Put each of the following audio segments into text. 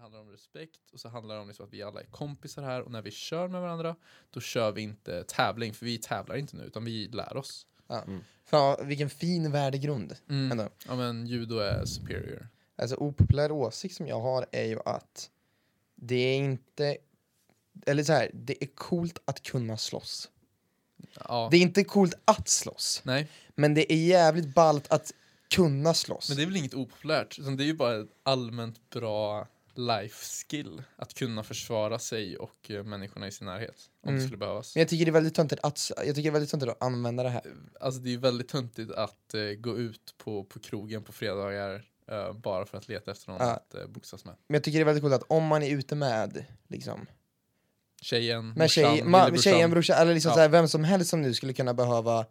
handlar om respekt och så handlar det om liksom att vi alla är kompisar här och när vi kör med varandra då kör vi inte tävling för vi tävlar inte nu utan vi lär oss. Ja. Fan, vilken fin värdegrund. Mm. Ändå. Ja men judo är superior. Alltså opopulär åsikt som jag har är ju att det är inte... Eller så här, det är coolt att kunna slåss. Ja. Det är inte coolt att slåss, Nej, men det är jävligt ballt att kunna slåss. men det är väl inget opopulärt utan det är ju bara ett allmänt bra life skill att kunna försvara sig och eh, människorna i sin närhet om det Mm. skulle behövas. Men jag tycker det är väldigt töntigt att, jag tycker det är väldigt töntigt att använda det här. Alltså det är ju väldigt töntigt att eh, gå ut på, på krogen på fredagar eh, bara för att leta efter någon Ja. att eh, boxas med. Men jag tycker det är väldigt coolt att om man är ute med liksom, Tjejen, med tjej, morsan, ma- lillebrorsan. tjejen, brorsan eller liksom Ja. så här, vem som helst som nu skulle kunna behöva,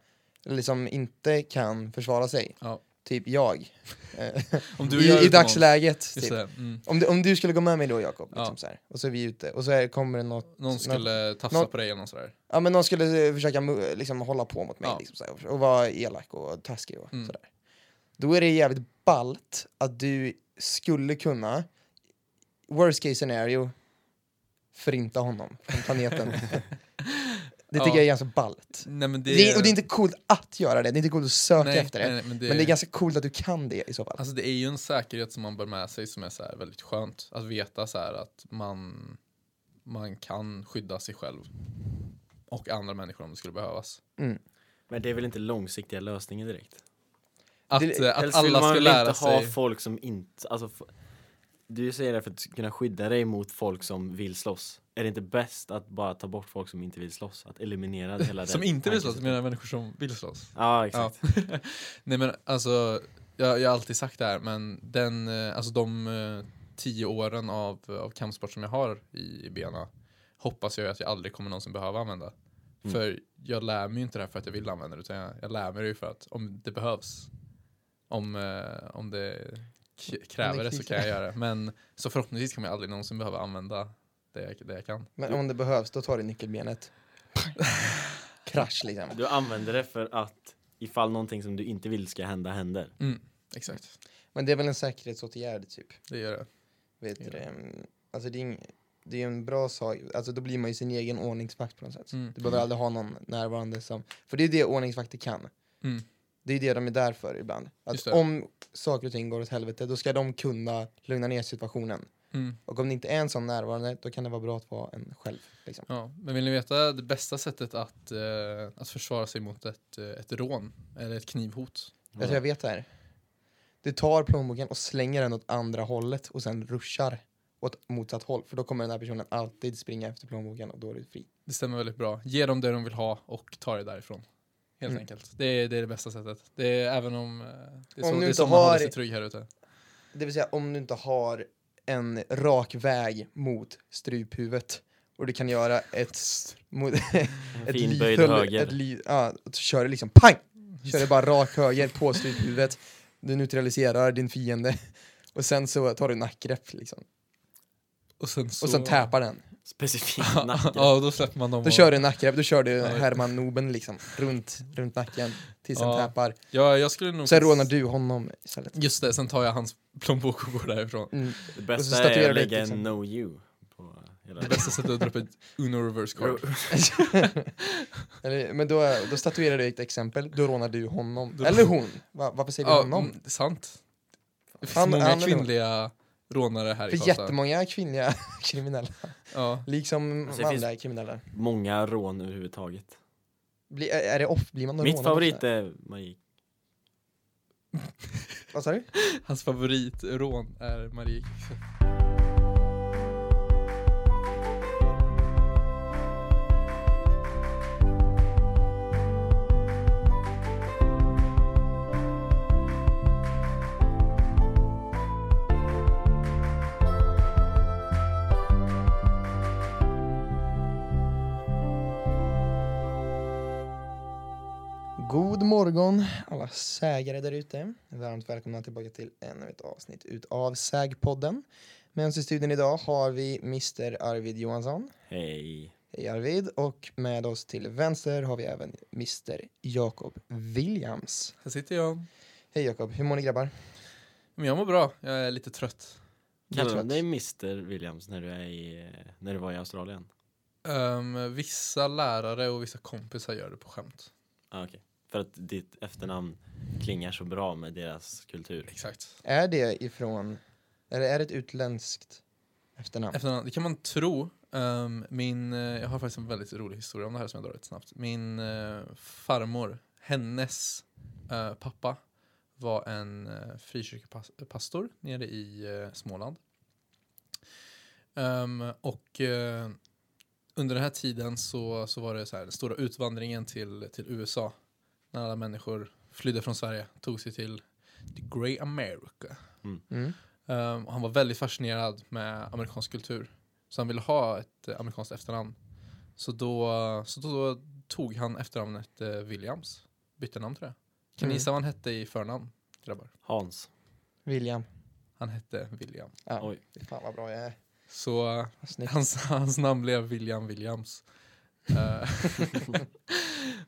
eller liksom inte kan försvara sig. Ja. Typ jag. Eh, Om I, gör det I på dagsläget. någon, just Typ. det, mm. Om, du, om du skulle gå med mig då Jakob, Ja. liksom så här, och så är vi ute, och så är, kommer det något, någon skulle tafsa någon- på dig eller något sådär. ja men någon skulle eh, försöka mu- liksom, hålla på mot mig Ja. liksom, så här, och vara elak och taskig och Mm. sådär. Då är det jävligt ballt att du skulle kunna, worst case scenario, förinta honom från planeten. det tycker Ja. jag är ganska ballt. Nej, men Det är, och det är inte coolt att göra det, det är inte coolt att söka nej, efter det. nej, nej, men det, Men det är ganska coolt att du kan det i så fall. Alltså det är ju en säkerhet som man bär med sig som är så här väldigt skönt. Att veta så här att man, man kan skydda sig själv och andra människor om det skulle behövas. Men det är väl inte långsiktiga lösningen direkt? Att, Det- eh, att Helst vill alla man ska väl lära inte sig... ha folk som inte, alltså f- Du säger det för att kunna skydda dig mot folk som vill slåss Är det inte bäst att bara ta bort folk som inte vill slåss? Att eliminera hela Som den inte vill slåss, tankesättet? du menar människor som vill slåss? Ja exakt Ja. Nej men alltså, jag, jag har alltid sagt det här, men den, eh, alltså de eh, tio åren av, av kampsport som jag har i, i bena hoppas jag att jag aldrig kommer någonsin behöva använda. För jag lär mig ju inte det här för att jag vill använda det, utan jag, jag lär mig det ju för att om det behövs, om, eh, om det k- kräver det så kan jag göra det. Men så förhoppningsvis kommer jag aldrig någonsin behöva använda det jag, det jag kan. Men om det behövs, då tar du nyckelbenet. Krasch liksom. Du använder det för att ifall någonting som du inte vill ska hända händer Mm. Exakt, Men det är väl en säkerhetsåtgärd typ. det gör det. Vet du Ja. det? Mm, Alltså det är, ing- det är en bra sak, alltså då blir man ju sin egen ordningsvakt på något sätt. Mm. Du behöver aldrig ha någon närvarande som, för det är det ordningsvakter kan. Mm. Det är det de är där för ibland. Just Att det. om saker och ting går åt helvete, då ska de kunna lugna ner situationen. Mm. Och om det inte är en sån närvarande, då kan det vara bra att vara en själv. Liksom. Ja, men vill ni veta det bästa sättet att, eh, att försvara sig mot ett, eh, ett rån eller ett knivhot? Alltså, Jag Mm. tror jag vet det här. Du tar plånboken och slänger den åt andra hållet och sen ruschar åt motsatt håll. För då kommer den här personen alltid springa efter plånboken och då är du fri. Det stämmer väldigt bra. Ge dem det de vill ha och ta det därifrån. Helt Mm. enkelt. Det är, det är det bästa sättet. Det är även om eh, det är Om så, du det är inte så man håller har- sig trygg här ute. Det vill säga om du inte har en rak väg mot struphuvudet och du kan göra ett... Mot, ett Fin lyfel- böjd Ett höger ly, ja, så kör det liksom pang! Kör det bara rakt höger på struphuvudet. Du neutraliserar din fiende. Och sen så tar du nackgrepp liksom. Och sen, så... Och sen täpar den. Specifikt nacken ja, då släpper man dem. Då och- kör du nackgrepp, då kör du Ja. Herman Noben liksom. Runt, runt nacken. Tills han Ja. täpar. Ja, jag skulle nog... Sen rånar du honom istället. Just det, sen tar jag hans plånbok och går därifrån. Mm. Det och så bästa statuerar är du att lägga liksom- en no you på hela Det bästa sättet att dra upp ett Uno reverse card. Eller, men då, då statuerar du ett exempel, då rånar du honom. Då- Eller hon. Va, varför säger vi Ja, honom? mm, sant. Det finns Han- många han är nog- kvinnliga rånare här i För Karlstad. jättemånga kvinnliga kriminella, Ja. liksom Alltså, det manliga kriminella. Många rån överhuvudtaget Bli, är- är det off? Blir man då Mitt rånad favorit ofta? är Marie Vad sa du? Hans favoritrån är Marie. God morgon alla sägare där ute. Varmt välkomna tillbaka till ännu ett avsnitt utav Sägpodden. Med oss i studion idag har vi Mr Arvid Johansson. Hej Hej Arvid. Och med oss till vänster har vi även Mr Jakob Williams. Här sitter jag. Hej Jakob, hur mår ni grabbar? Men jag mår bra. Jag är lite trött. Kallar tror de att- dig Mr Williams när du, är i, när du var i Australien? Ehm, vissa lärare och vissa kompisar gör det på skämt. Ah, okej. För att ditt efternamn klingar så bra med deras kultur. Exakt. Är det ifrån, eller är det ett utländskt efternamn? Efternamn, det kan man tro. Ehm, min, eh, jag har faktiskt en väldigt rolig historia om det här som jag drar lite snabbt. Min eh, farmor, hennes eh, pappa var en uh, frikyrkopastor nere i eh, Småland. Ehm, och eh, under den här tiden så, så var det så här, den stora utvandringen till, till USA. När alla människor flydde från Sverige, tog sig till the Grey America. Mm. Ehm, och han var väldigt fascinerad med amerikansk kultur. Så han ville ha ett eh, amerikanskt efternamn. Så då, så då, då tog han efternamnet eh, Williams. Bytte namn till det. Kan ni Mm. gissa vad han hette i förnamn, grabbar? Hans. William. Han hette William. Ja. Oj. Fy Fan vad bra jag är. Så eh, Vad snyggt. hans, hans namn blev William Williams. Eh,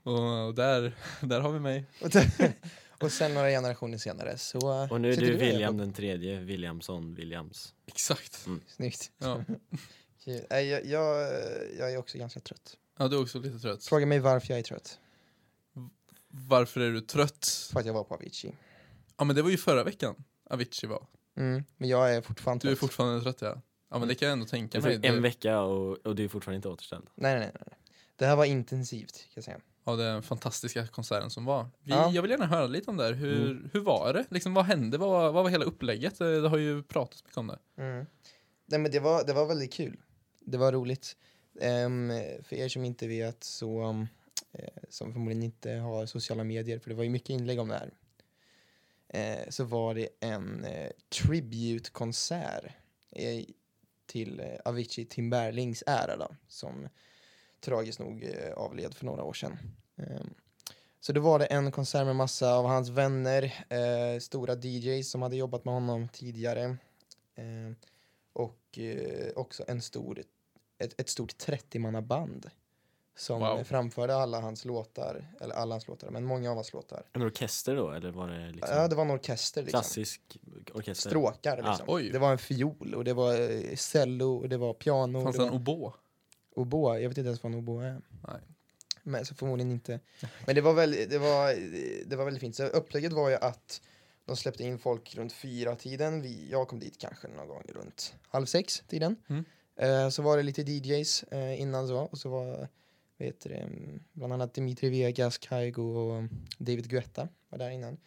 och och där, där har vi mig. Och sen- Och sen några generationer senare så... Och nu är sitter du här, William Jakob. den tredje, Williamson Williams. Exakt. Snyggt. Ja. Kul. Nej, Jag, jag, jag är också ganska trött. ja, du är också lite trött. Fråga mig varför jag är trött. Varför är du trött? För att jag var på Avicii. Ja, men det var ju förra veckan Avicii var. Mm. Men jag är fortfarande Du är trött. fortfarande trött ja. Ja men det kan jag ändå tänka Det mig. tog en Det, vecka och, och du är fortfarande inte återställd. nej, nej, nej, nej. Det här var intensivt kan jag säga. av den fantastiska konserten som var. Vi, Ja. Mm. Jag vill gärna höra lite om det här. Hur, hur var det? Liksom, vad hände? Vad, var- vad var hela upplägget? Eh, Det har ju pratats mycket om det. Mm. Nej, men det, var, det var väldigt kul. Det var roligt. Ehm, för er som inte vet så, um, eh, som förmodligen inte har sociala medier, för det var ju mycket inlägg om det här, eh, så var det en eh, tributekonsert eh, till eh, Avicii Tim Berlings ära då, som tragiskt nog eh, avled för några år sedan. Ehm, så då var det en konsert med massa av hans vänner, eh, stora DJs som hade jobbat med honom tidigare. Eh, och eh, också en stor, ett, ett stort 30-mannaband som Wow. framförde alla hans låtar, eller alla hans låtar, men många av hans låtar. En orkester då, eller var det liksom Ja, det var en orkester liksom. klassisk orkester? Stråkar Ah, liksom. oj. det var en fiol och det var eh, cello och det var piano. och Fanns det det var en oboe? oboa. Jag vet inte ens vad en oboa är. Nej. Men så förmodligen inte. Men det var, väl, det, var, det var väldigt fint. Så upplägget var ju att de släppte in folk runt fyra tiden. Vi, jag kom dit kanske någon gång runt halv sex tiden. Mm. Eh, så var det lite DJs eh, innan så. Och så var vet du, det, bland annat Dimitri Vegas, Kygo och David Guetta var där innan.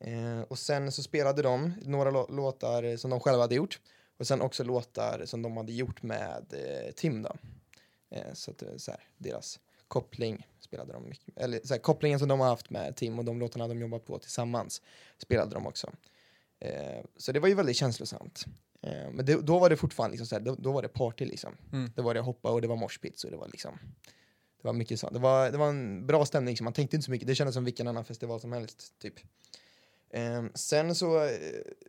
Eh, och sen så spelade de några lå- låtar som de själva hade gjort. Och sen också låtar som de hade gjort med eh, Tim då. Eh, så att det är så här, deras koppling spelade de mycket, eller så här, kopplingen som de har haft med Tim och de låtarna de jobbat på tillsammans spelade de också. Eh, så det var ju väldigt känslosamt. Eh, men det, då var det fortfarande liksom så här, då, då var det party liksom. Mm. Då var det hoppa och det var moshpits och det var liksom det var mycket sånt. Det var, det var en bra stämning, liksom. man tänkte inte så mycket. Det kändes som vilken annan festival som helst, typ. Eh, sen så eh,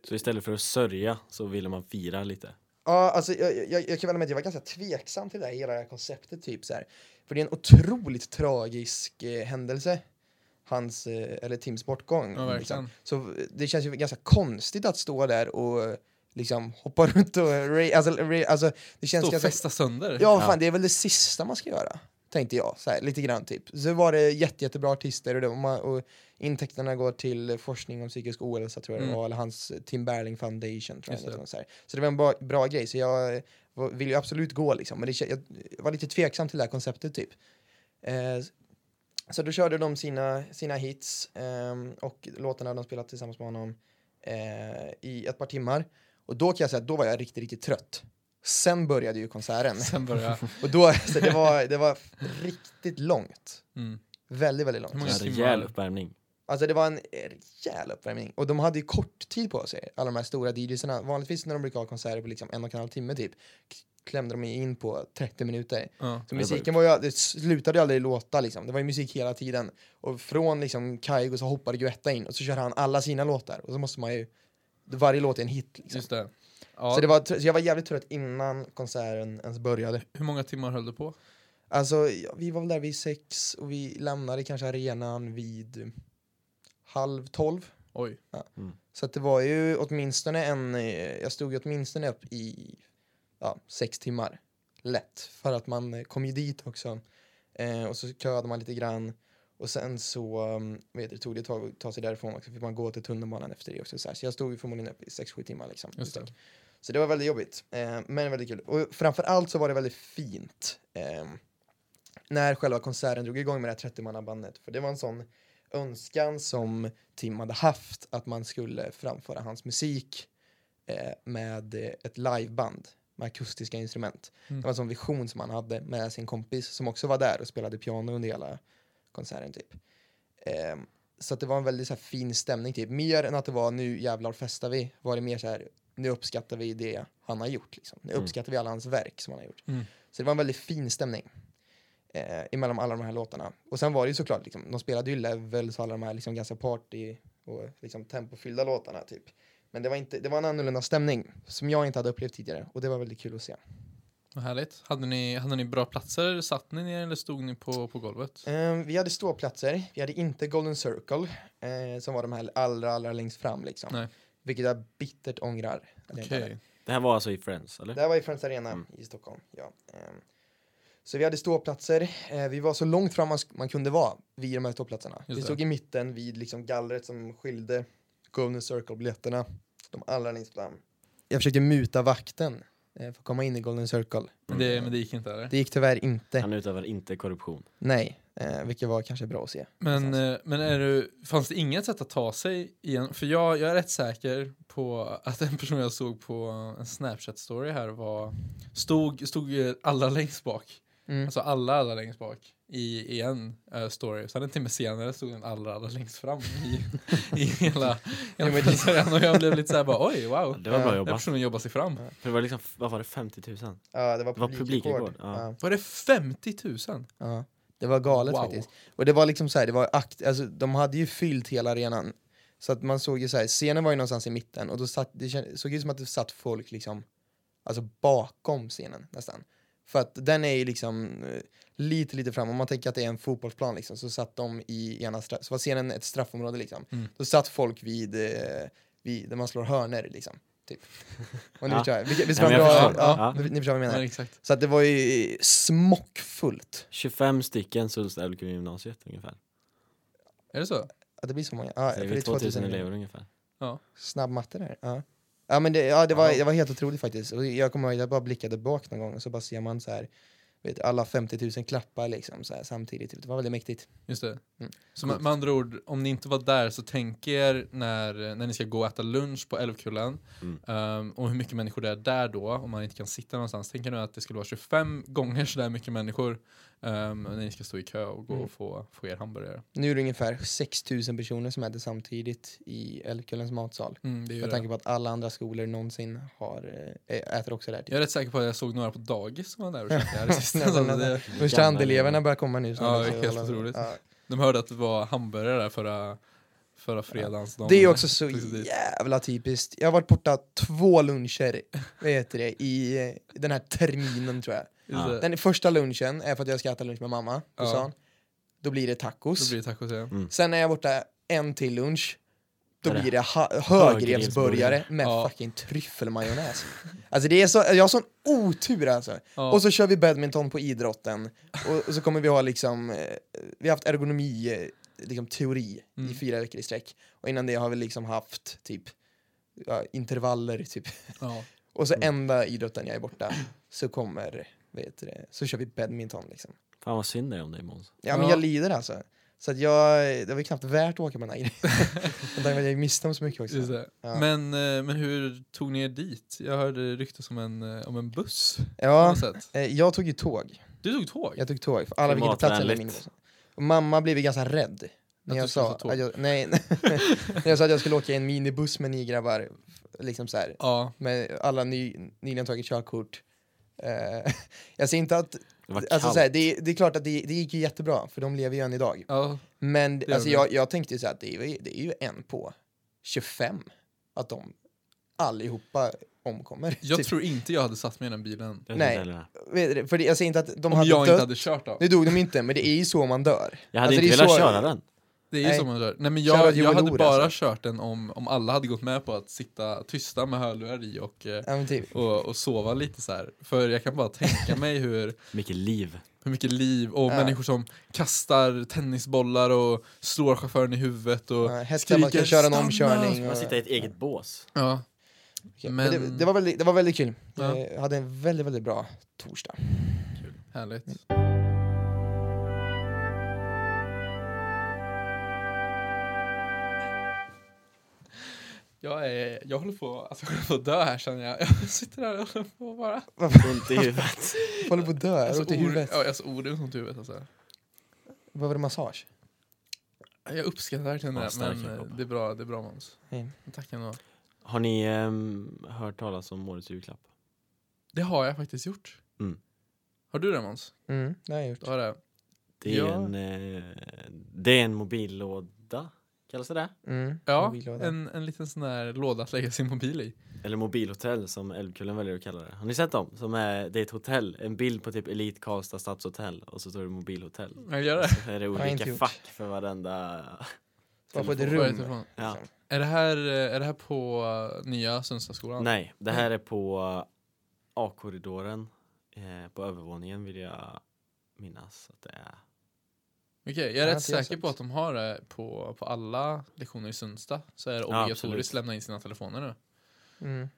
Så istället för att sörja så ville man fira lite. Ja, alltså jag, jag, jag kan väl med att jag var ganska tveksam till det här, hela det här konceptet typ så här. För det är en otroligt tragisk eh, händelse. Hans, eh, eller Tims bortgång. Ja, liksom. verkligen. Så eh, det känns ju ganska konstigt att stå där och eh, liksom hoppa runt och ra- alltså, ra- alltså det känns Stå och ganska... festa sönder. Ja, Ja. fan, det är väl det sista man ska göra, tänkte jag. Så här, lite grann typ. Så var det jätte, jättebra artister och, det, och, man, och intäkterna går till forskning om psykisk ohälsa tror jag det Mm. var, eller hans eh, Tim Berling Foundation tror jag Just det. det. var, Så, här. så det var en bra, bra grej, så jag eh, var- vill ju absolut gå liksom. Men det, kän- jag var lite tveksam till det här konceptet typ. Eh, så då körde de sina, sina hits ehm, och låtarna de spelat tillsammans med honom eh, i ett par timmar. Och då kan jag säga att då var jag riktigt, riktigt trött. Sen började ju konserten. Sen började Och då, så det, var, det var riktigt långt. mm. Väldigt, väldigt Hur långt. många En timmar? rejäl uppvärmning. Alltså det var en rejäl uppvärmning. Och de hade ju kort tid på sig, alla de här stora DJsarna. Vanligtvis när de brukar ha konserter på liksom en och en halv timme typ, klämde de ju in på 30 minuter. ja. Så Ja, det var musiken var ju, det slutade ju aldrig låta liksom. Det var ju musik hela tiden. Och från liksom Kygo så hoppade Guetta in och så körde han alla sina låtar. Och så måste man ju, varje låt är en hit liksom. Just det. Ja. Så, det var, tr- så jag var jävligt trött innan konserten ens började. Hur många timmar höll du på? Alltså, ja, vi var väl där vid sex och vi lämnade kanske arenan vid halv tolv. Oj. Så att det var ju åtminstone en, eh, jag stod ju åtminstone upp i ja, sex timmar. Lätt. För att man eh, kom ju dit också. Eh, och så köade man lite grann. Och sen så um, vet du, tog det ett tag att ta sig därifrån också. Fick man gå till tunnelbanan efter det också. Så, här. så jag stod ju förmodligen upp i sex sju timmar liksom. i Just det. sträck. Så det var väldigt jobbigt, eh, men väldigt kul. Och framförallt så var det väldigt fint eh, när själva konserten drog igång med det här 30-mannabandet. För det var en sån önskan som Tim hade haft att man skulle framföra hans musik eh, med eh, ett liveband med akustiska instrument. Mm. Det var en sån vision som han hade med sin kompis som också var där och spelade piano under hela konserten typ. Eh, så att det var en väldigt så här, fin stämning typ. Mer än att det var nu jävlar festar vi var det mer så här nu uppskattar vi det han har gjort. Liksom. Nu Mm. uppskattar vi alla hans verk som han har gjort. Mm. Så det var en väldigt fin stämning eh, emellan alla de här låtarna. Och sen var det ju såklart, liksom, de spelade ju Levels och alla de här liksom, ganska party och liksom, tempofyllda låtarna typ. Men det var, inte, det var en annorlunda stämning som jag inte hade upplevt tidigare och det var väldigt kul att se. Vad härligt. Hade ni, hade ni bra platser? Satt ni ner eller stod ni på, på golvet? Eh, vi hade ståplatser, vi hade inte Golden Circle eh, som var de här allra, allra längst fram liksom. Nej. Vilket jag bittert ångrar. att jag inte Okej. hade. Det här var alltså i Friends, eller? Det här var i Friends Arena Mm. i Stockholm. Ja. Ehm, Så vi hade ståplatser. Eh, Vi var så långt fram man sk- man kunde vara vid de här ståplatserna. Just vi det. stod i mitten vid liksom gallret som skilde Golden Circle-biljetterna. De allra längst fram. Jag försökte muta vakten eh, för att komma in i Golden Circle. Men, det, men det gick inte eller? Det gick tyvärr inte. Han utövar inte korruption. Nej, eh, vilket var kanske bra att se. Men, eh, men är du, fanns det inget sätt att ta sig igen? För jag, jag är rätt säker på att en person jag såg på en Snapchat-story här var, stod, stod eh, allra längst bak. Mm. Alltså alla, alla längst bak i, i en eh, story. Sen en timme senare stod den allra, allra längst fram i, i hela, men hela det- pressarien. Och jag blev lite såhär bara oj, wow. Det var bra Ja. Den här jobbat. personen jobbar sig fram. För det var liksom, vad var det, 50 000? Ja, det var Det var publikrekord. publikrekord, ja. Ja, Var det 50 000? ja. Det var galet faktiskt. Wow. Och det var liksom så här, det var akt, alltså, de hade ju fyllt hela arenan. Så att man såg ju så här, scenen var ju någonstans i mitten och då satt, det känd, såg ut som att det satt folk liksom, alltså bakom scenen nästan. För att den är ju liksom eh, lite, lite fram. Om man tänker att det är en fotbollsplan liksom, så satt de i ena straff, så var scenen ett straffområde liksom. Mm. Då satt folk vid, eh, vid, där man slår hörner liksom. Typ. Och ni Ja. förstår, vilka- visst var Nej, det men jag bra? förstår. Ja, Ja. ni- Ni förstår vad jag Ja, menar. exakt. Så att det var ju smockfullt. 25 stycken Sundsvall gymnasiet ungefär. Är det så? Ja, det blir så många. Ja, Så för det det är 2000 elever. elever ungefär. Snabb matte där. Ja. Ja men det, ja, det, var, Ja. det var helt otroligt faktiskt. Och jag kommer ihåg att jag bara blickade bak någon gång och så bara ser man så här, vet, alla 50 000 klappar liksom så här, samtidigt. Typ. Det var väldigt mäktigt. Just det. Mm. Så med, med andra ord, om ni inte var där så tänk er när, när ni ska gå och äta lunch på Älvkullen Mm. ehm, och hur mycket människor det är där då, om man inte kan sitta någonstans. Tänk er nu att det skulle vara 25 gånger så där mycket människor ehm, när ni ska stå i kö och gå Mm. och få, få er hamburgare. Nu är det ungefär 6 000 personer som äter samtidigt i Älvkullens matsal. Mm, det är ju Med det. tanke på att alla andra skolor någonsin har, eh, äter också där. Typ. Jag är rätt säker på att jag såg några på dagis som var där och käkade här i sista. Nästan, Så att det, Första Gamla handeleverna elever. börjar komma nu. Ja, också. det är helt otroligt. Ja. de hörde att det var hamburgare där förra, förra fredagen. så de- Det är också så tog sig dit. jävla typiskt. Jag har varit borta två luncher, vad heter det, i eh, den här terminen tror jag. Just det. Den första lunchen är för att jag ska äta lunch med mamma på Ja. stan. Då blir det Då tacos. blir det tacos igen. Sen är jag borta en till lunch. Då Där är blir det ha- högrevsburgare högrevsburgare. med Ja. fucking tryffelmajonnäs. Alltså det är så, jag har sån otur alltså. Ja. Och så kör vi badminton på idrotten. Och, och så kommer vi ha liksom, eh, vi har haft ergonomi, eh, liksom teori i Mm. fyra veckor i sträck. Och innan det har vi liksom haft typ ja, intervaller typ. ja. Och Mm. så enda idrotten jag är borta så kommer, vet du det, så kör vi badminton liksom. Fan vad synd det är om dig Måns. Ja men Ja. jag lider alltså. Så att jag, det var ju knappt värt att åka med den här grejen. Och där var jag ju miste om så mycket också. Just det. Ja. Men, eh, men hur tog ni er dit? Jag hörde ryktas om en, eh, om en buss. På Ja, något sätt. eh, jag tog ju tåg. Du tog tåg? Jag tog tåg, för alla fick inte plats i hela min Klimatvänligt. Och mamma blev ju ganska rädd. När Att jag, du skulle sa ta tåg. att jag, nej, när jag sa att jag skulle åka i en minibuss med ni grabbar, liksom så här, Ja, med alla ny, nyligen tagit körkort. Eh, jag ser inte att, Det var alltså kallt. så här, det, det är klart att det, det gick ju jättebra, för de lever ju än idag. ja, Men gör alltså, vi. jag, jag tänkte ju så här att det är, ju- det är ju en på 25 att de allihopa omkommer. jag Typ. tror inte jag hade satt mig i den bilen. Det är nej. inte heller. Vet du, För det- jag säger inte att Om de hade jag dött. inte hade kört då. Nu dog de inte, men det är ju så man dör. Jag hade Alltså, det inte är velat så- köra den. Det är ju Nej. så man gör. Nej, men Kära jag, jag hade jovelorer, bara alltså. kört den om, om alla hade gått med på att sitta tysta med hörlurar i och, eh, Ja, men typ. och, och sova lite så här. För jag kan bara tänka mig hur Mycket liv. hur mycket liv och Ja. människor som kastar tennisbollar och slår chauffören i huvudet och Ja, hästar man kan skriker, köra en "Stanna!" omkörning. Man Och, sitter i ett eget bås. Ja, Okej, men det, men- det, var väldigt, det var väldigt kul. Eh, Ja. Jag hade en väldigt, väldigt bra torsdag. härligt. Mm. Jag, är, jag håller på alltså, jag håller på att dö här känner jag. Jag sitter här och håller på att bara... Ont i huvudet. Jag håller på att dö, jag har ont i or- huvudet. Ja, alltså orunt ont i huvudet alltså. Behöver du massage? Jag uppskattar verkligen Ja, det, stark men eh, kropp. det är bra, det är bra Måns. Hej. Tack ändå. Har ni ehm, hört talas om årets julklapp? Det har jag faktiskt gjort. Mm. Har du det Måns? Mm, det har jag Du gjort. har det? Det är, Ja. en, eh, det är en mobillåda, kallas det det? Mm, Ja, mobillåda. en, en liten sån där låda att lägga sin mobil i. Eller mobilhotell som Älvkullen väljer att kalla det. Har ni sett dem? Som är, det är ett hotell, en bild på typ Elite Karlstad stadshotell och så står det mobilhotell. Jag gör det. Så är det jag inte olika gjort. fack för varenda... Det var på ett telefon. Vad är rum. det ifrån? Ja. Är det här, eh, är det här på eh, nya Sundstadsskolan? Nej, det här är på A-korridoren. Eh, på övervåningen vill jag minnas att det är. Okej, jag är Ja, rätt det är säker på sant. att de har det på, på alla lektioner i Sundstad. Så är det Ja, obligatoriskt absolut. lämna in sina telefoner nu. Mm.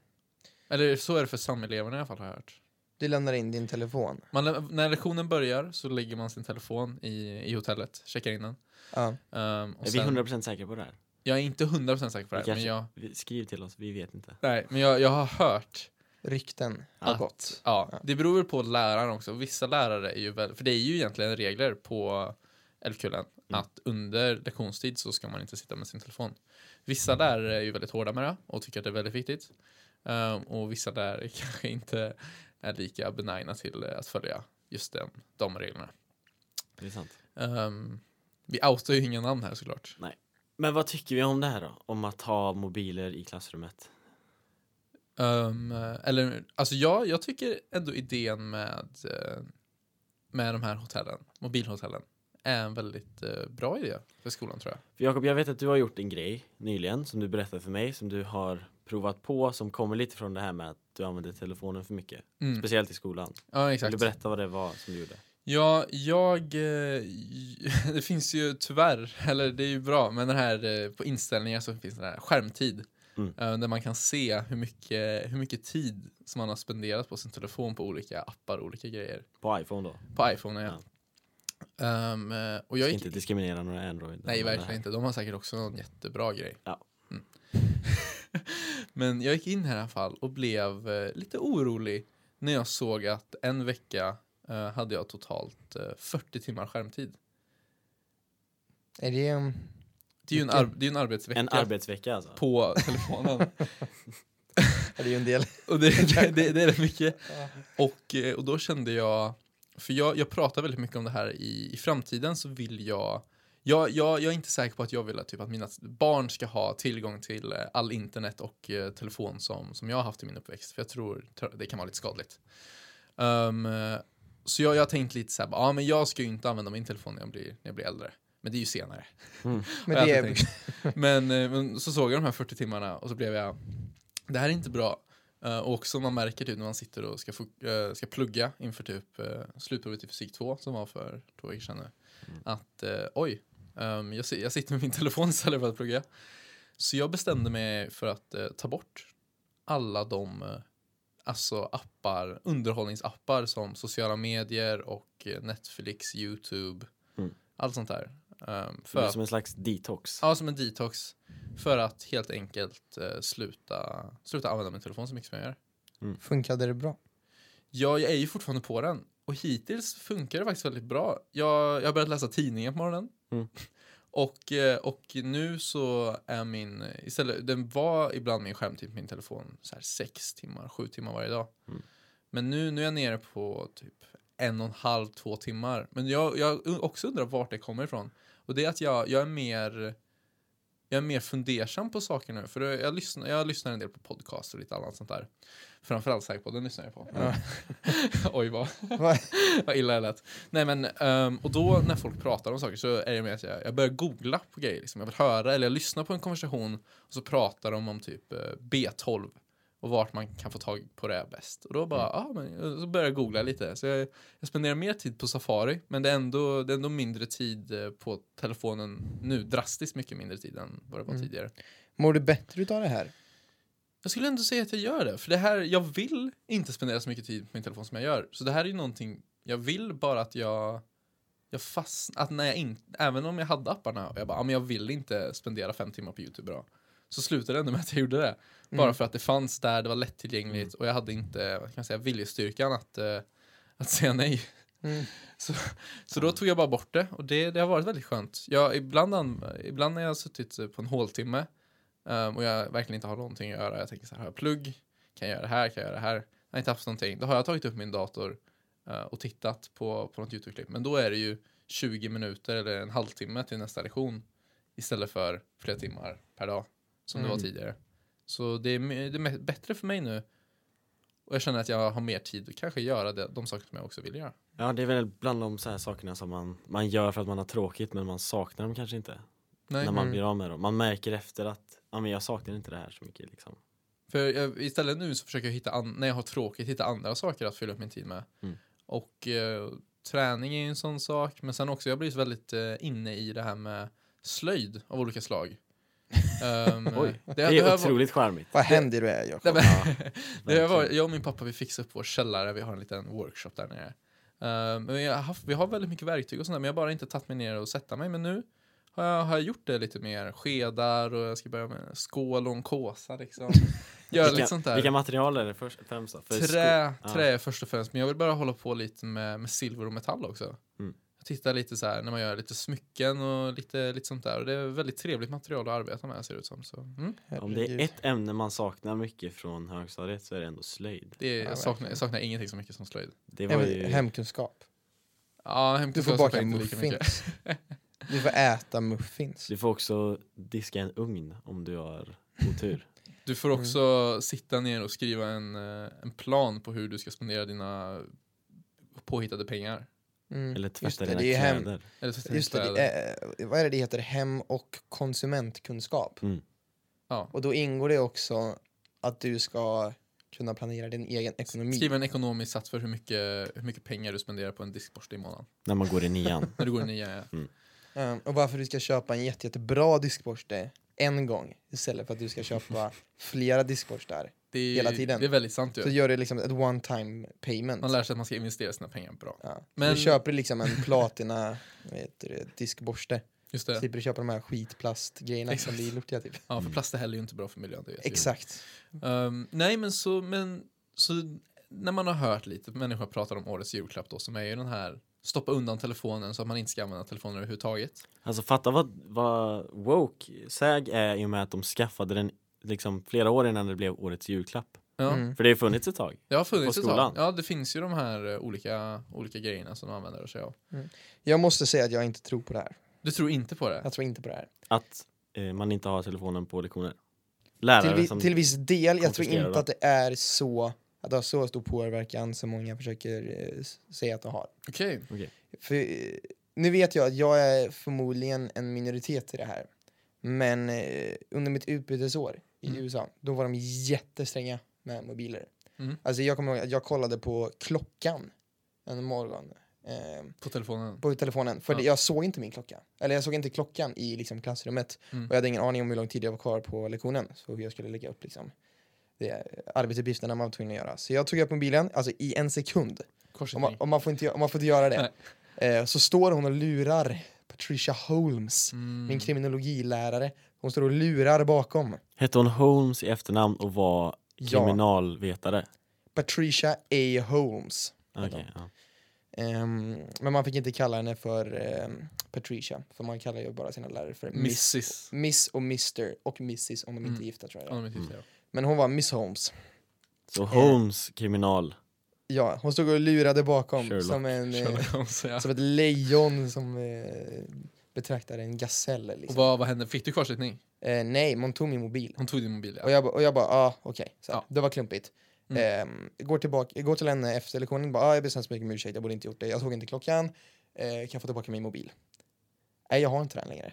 Eller så är det för sameleverna i alla fall har jag hört. Du lämnar in din telefon. Man, lä- när lektionen börjar så lägger man sin telefon i, i hotellet, checkar in den. Ja. Ehm, och Är vi sen- 100% säkra på det här? Jag är inte 100% säker på det här, Vi men kanske- jag, Vi- Skriv till oss, vi vet inte. nej, men jag, jag har hört Rykten. Ja. har gått. Ja, Ja. det beror väl på läraren också. Vissa lärare är ju väl, för det är ju egentligen regler på Älvkullen Mm. att under lektionstid så ska man inte sitta med sin telefon. Vissa lärare är ju väldigt hårda med det och tycker att det är väldigt viktigt. Ehm, och vissa lärare kanske inte är lika benägna till eh, att följa just den, de reglerna. Det är sant. Ehm, vi outar ju inga namn här såklart. Men vad tycker vi om det här då? Om att ha mobiler i klassrummet? Ehm, eller, alltså jag, jag tycker ändå idén med, eh, med de här hotellen, mobilhotellen, är en väldigt eh, bra idé för skolan tror jag. För Jakob, jag vet att du har gjort en grej nyligen som du berättade för mig som du har provat på som kommer lite från det här med att du använder telefonen för mycket. Mm. Speciellt i skolan. Ja, Vill du exakt. berätta vad det var som du gjorde? Ja, jag... eh, j- Det finns ju tyvärr, eller det är ju bra, men den här eh, på inställningar så finns den här skärmtid. Mm. eh, Där man kan se hur mycket, hur mycket tid som man har spenderat på sin telefon på olika appar, olika grejer. På iPhone då? På iPhone, ja. Ehm, eh, och jag Ska gick, inte diskriminera några Android. Nej, Men det här- verkligen inte. De har säkert också någon jättebra grej. Ja. Mm. Men jag gick in här i alla fall och blev eh, lite orolig när jag såg att en vecka eh, hade jag totalt eh, 40 timmar skärmtid. Är det... um, Det är ju en, Mycket. ar- det är en arbetsvecka En arbetsvecka alltså? på telefonen. Är det ju en del? och det, det, det, det är rätt mycket. Ja. Och, eh, och då kände jag, för jag, jag pratar väldigt mycket om det här i, i framtiden så vill jag jag, jag, jag är inte säker på att jag vill att, typ, att mina barn ska ha tillgång till eh, all internet och eh, telefon som, som jag har haft i min uppväxt. För jag tror tr- det kan vara lite skadligt. Ehm, eh, så jag jag har tänkt lite så här, ja men jag ska ju inte använda min telefon när jag blir, när jag blir äldre. Men det är ju senare. Men Har det jag är... alltid tänkt. men, eh, men så såg jag de här 40 timmarna och så blev jag, det här är inte bra. Eh, Och också man märker typ när man sitter och ska, fok- eh, ska plugga inför typ eh, slutprovet i fysik 2 som var för två veckor sedan nu. Mm. Att eh, oj, ehm, jag, si- jag sitter med min telefon istället för att plugga. Så jag bestämde mig för att eh, ta bort alla de eh, alltså appar, underhållningsappar som sociala medier och eh, Netflix, Youtube, Mm. allt sånt där. Ehm, För det är som en slags detox. Ja, som en detox. För att helt enkelt eh, sluta, sluta använda min telefon så mycket som jag gör. Funkade det bra? Ja, jag är ju fortfarande på den. Och hittills funkar det faktiskt väldigt bra. Jag, jag har börjat läsa tidningen på morgonen. Mm. Och, eh, och nu så är min, istället, den var ibland min skärmtid på min telefon så här sex timmar, sju timmar varje dag. Mm. Men nu, nu är jag nere på typ en och en halv, två timmar. Men jag, jag också undrar vart det kommer ifrån. Och det är att jag, jag är mer, jag är mer fundersam på saker nu. För jag lyssnar, jag lyssnar en del på podcast och lite annat sånt där. Framförallt Sägpodden lyssnar jag på. Ja. Oj, vad, Vad- vad illa det lät. Nej, men, ehm, och då när folk pratar om saker så är det mer att jag, jag börjar googla på grejer. Liksom. Jag vill höra eller jag lyssnar på en konversation och så pratar de om typ eh, B12 och vart man kan få tag på det bäst. Och då bara, ah, men, och så börjar jag googla lite. Så jag, jag spenderar mer tid på Safari, men det är, ändå, det är ändå mindre tid eh, på telefonen nu. Drastiskt mycket mindre tid än vad det var Mm. tidigare. Mår du bättre utav det här? Jag skulle ändå säga att jag gör det, för det här, jag vill inte spendera så mycket tid på min telefon som jag gör. Så det här är ju någonting, jag vill bara att jag, jag fastnar, att när jag inte, även om jag hade apparna och jag bara, ah, men jag vill inte spendera fem timmar på YouTube idag. Så slutade det ändå med att jag gjorde det. Bara Mm. för att det fanns där, det var lättillgängligt och jag hade inte, vad kan man säga, viljestyrkan att, eh, att säga nej. Mm. Så, så då tog jag bara bort det och det, det har varit väldigt skönt. Jag, ibland, an, ibland när jag har suttit eh, på en håltimme ehm, och jag verkligen inte har någonting att göra, jag tänker så här, har jag plugg? Kan jag göra det här? Kan jag göra det här? Jag har inte haft någonting. Då har jag tagit upp min dator eh, och tittat på, på något YouTube-klipp. Men då är det ju 20 minuter eller en halvtimme till nästa lektion istället för flera timmar per dag som det var Mm. tidigare. Så det är, my- det är bättre för mig nu och jag känner att jag har mer tid att kanske göra det, de saker som jag också vill göra. Ja, det är väl bland de så här sakerna som man, man gör för att man har tråkigt men man saknar dem kanske inte Nej. när man Mm. blir av med dem. Man märker efter att ja, men jag saknar inte det här så mycket. Liksom. För jag, istället nu så försöker jag hitta, an- när jag har tråkigt, hitta andra saker att fylla upp min tid med. Mm. Och eh, träning är ju en sån sak, men sen också, jag har blivit väldigt eh, inne i det här med slöjd av olika slag. Ehm, Oj, det, det det har är jag- otroligt charmigt. Vad händer du är, Jakob? Nej, men, det har jag, varit- verkligen. jag och min pappa vi fixar upp vår källare, vi har en liten workshop där nere. Ehm, men jag har haft, vi har väldigt mycket verktyg och sånt där, men jag har bara inte tagit mig ner och sätta mig. Men nu har jag, har jag gjort det lite mer, skedar och jag ska börja med skål och en kåsa liksom. Göra Vilka, lite sånt där. vilka material är det först, främst då? För sko- liksom Trä, ja. trä är först och främst, men jag vill bara hålla på lite med, med silver och metall också. Mm. Jag tittar lite så här när man gör lite smycken och lite, lite sånt där. Och det är väldigt trevligt material att arbeta med ser det ut som. Så, mm. Om det är Herregud. ett ämne man saknar mycket från högstadiet så är det ändå slöjd. det är, Ja, jag, saknar, verkligen. jag saknar ingenting så mycket som slöjd. Det Nej, var men ju... Hemkunskap. Ja, Du hemkunskap får saknar baka jag inte lika mycket. muffins. Du får äta muffins. Du får också diska en ugn om du har otur. Du får Mm. också sitta ner och skriva en, eh, en plan på hur du ska spendera dina påhittade pengar. Mm. Eller Just tvätta det, dina det är hem- kläder. Eller så Just det, det är, eh, vad är det det heter? Hem och konsumentkunskap. Mm. Ja. Och då ingår det också att du ska kunna planera din egen ekonomi. Skriv en ekonomisk sats för hur mycket, hur mycket pengar du spenderar på en diskborste i månaden. När man går i nian. När du går i nya... Eh, och varför du ska köpa en jätte, jättebra diskborste en gång istället för att du ska köpa flera diskborstar. Det är, Hela tiden. Det är väldigt sant ju. Så gör du liksom ett one time payment. Man lär sig att man ska investera sina pengar bra. Ja. Men... Men- Du köper liksom en platina vad heter det, diskborste. Just det. Slipper du köpa de här skitplastgrejerna som Exakt. blir lortiga typ. Ja, för plast är heller ju inte bra för miljön. Det vet vi. Exakt. Ehm, nej, men så, men så när man har hört lite människor prata om årets julklapp då, som är ju den här stoppa undan telefonen så att man inte ska använda telefonen överhuvudtaget. Alltså fatta vad, vad woke SÄG är i och med att de skaffade den liksom flera år innan det blev årets julklapp. Ja, Mm. För det har ju funnits ett tag. det har funnits På ett tag. skolan. Ja, det finns ju de här eh, olika, olika grejerna som de använder sig av. Jag måste säga att jag inte tror på det här. Du tror inte på det? Jag tror inte på det här. Att eh, man inte har telefonen på lektioner. Lärare Till, vi, som... till viss del, jag tror konfiskerar inte dem. att det är så att det har så stor påverkan som många försöker eh, s- säga att det har. Okej. För, eh, nu vet jag att jag är förmodligen en minoritet i det här. Men eh, under mitt utbytesår i Mm. USA, då var de jättestränga med mobiler. Mm. Alltså jag kommer ihåg att jag kollade på klockan en morgon eh, På telefonen? på telefonen. För Ja. jag såg inte min klocka. Eller jag såg inte klockan i liksom, klassrummet. Mm. Och jag hade ingen aning om hur lång tid jag var kvar på lektionen. Så hur jag skulle lägga upp liksom, det eh, arbetsuppgifterna man var tvungen att göra. Så jag tog upp mobilen, alltså i en sekund. Om man, Korsittning? om man, får, inte, gö- om man får inte göra det. Eh, så står hon och lurar Patricia Holmes, Mm. min kriminologilärare. Hon står och lurar bakom. Hette hon Holmes i efternamn och var Ja. kriminalvetare? Patricia A. Holmes. Okej, Hette hon. ja. Ehm, men man fick inte kalla henne för ehm, Patricia, för man kallar ju bara sina lärare för Miss. Mrs. Miss och Mr och Mrs om de inte Mm. är gifta tror jag. Ja, de är typ det. Men hon var Miss Holmes. Eh, Så Holmes kriminal. Ja, hon stod och lurade bakom Sherlock. som en... eh, Sherlock Holmes, ja. Som ett lejon som eh, betraktar en gasell. Och Liksom. vad, vad hände? Fick du kvarsittning? Eh, nej, man tog min mobil. Hon tog din mobil ja. Och jag bara, och jag bara ah, okej, Så här, Ja. Mm. det var klumpigt. Ehm, går, tillbaka, går till henne efter lektionen, bara, ah, jag ber så hemskt mycket om ursäkt, jag borde inte gjort det, jag såg inte klockan, eh, kan jag få tillbaka min mobil? Nej, jag har inte den längre.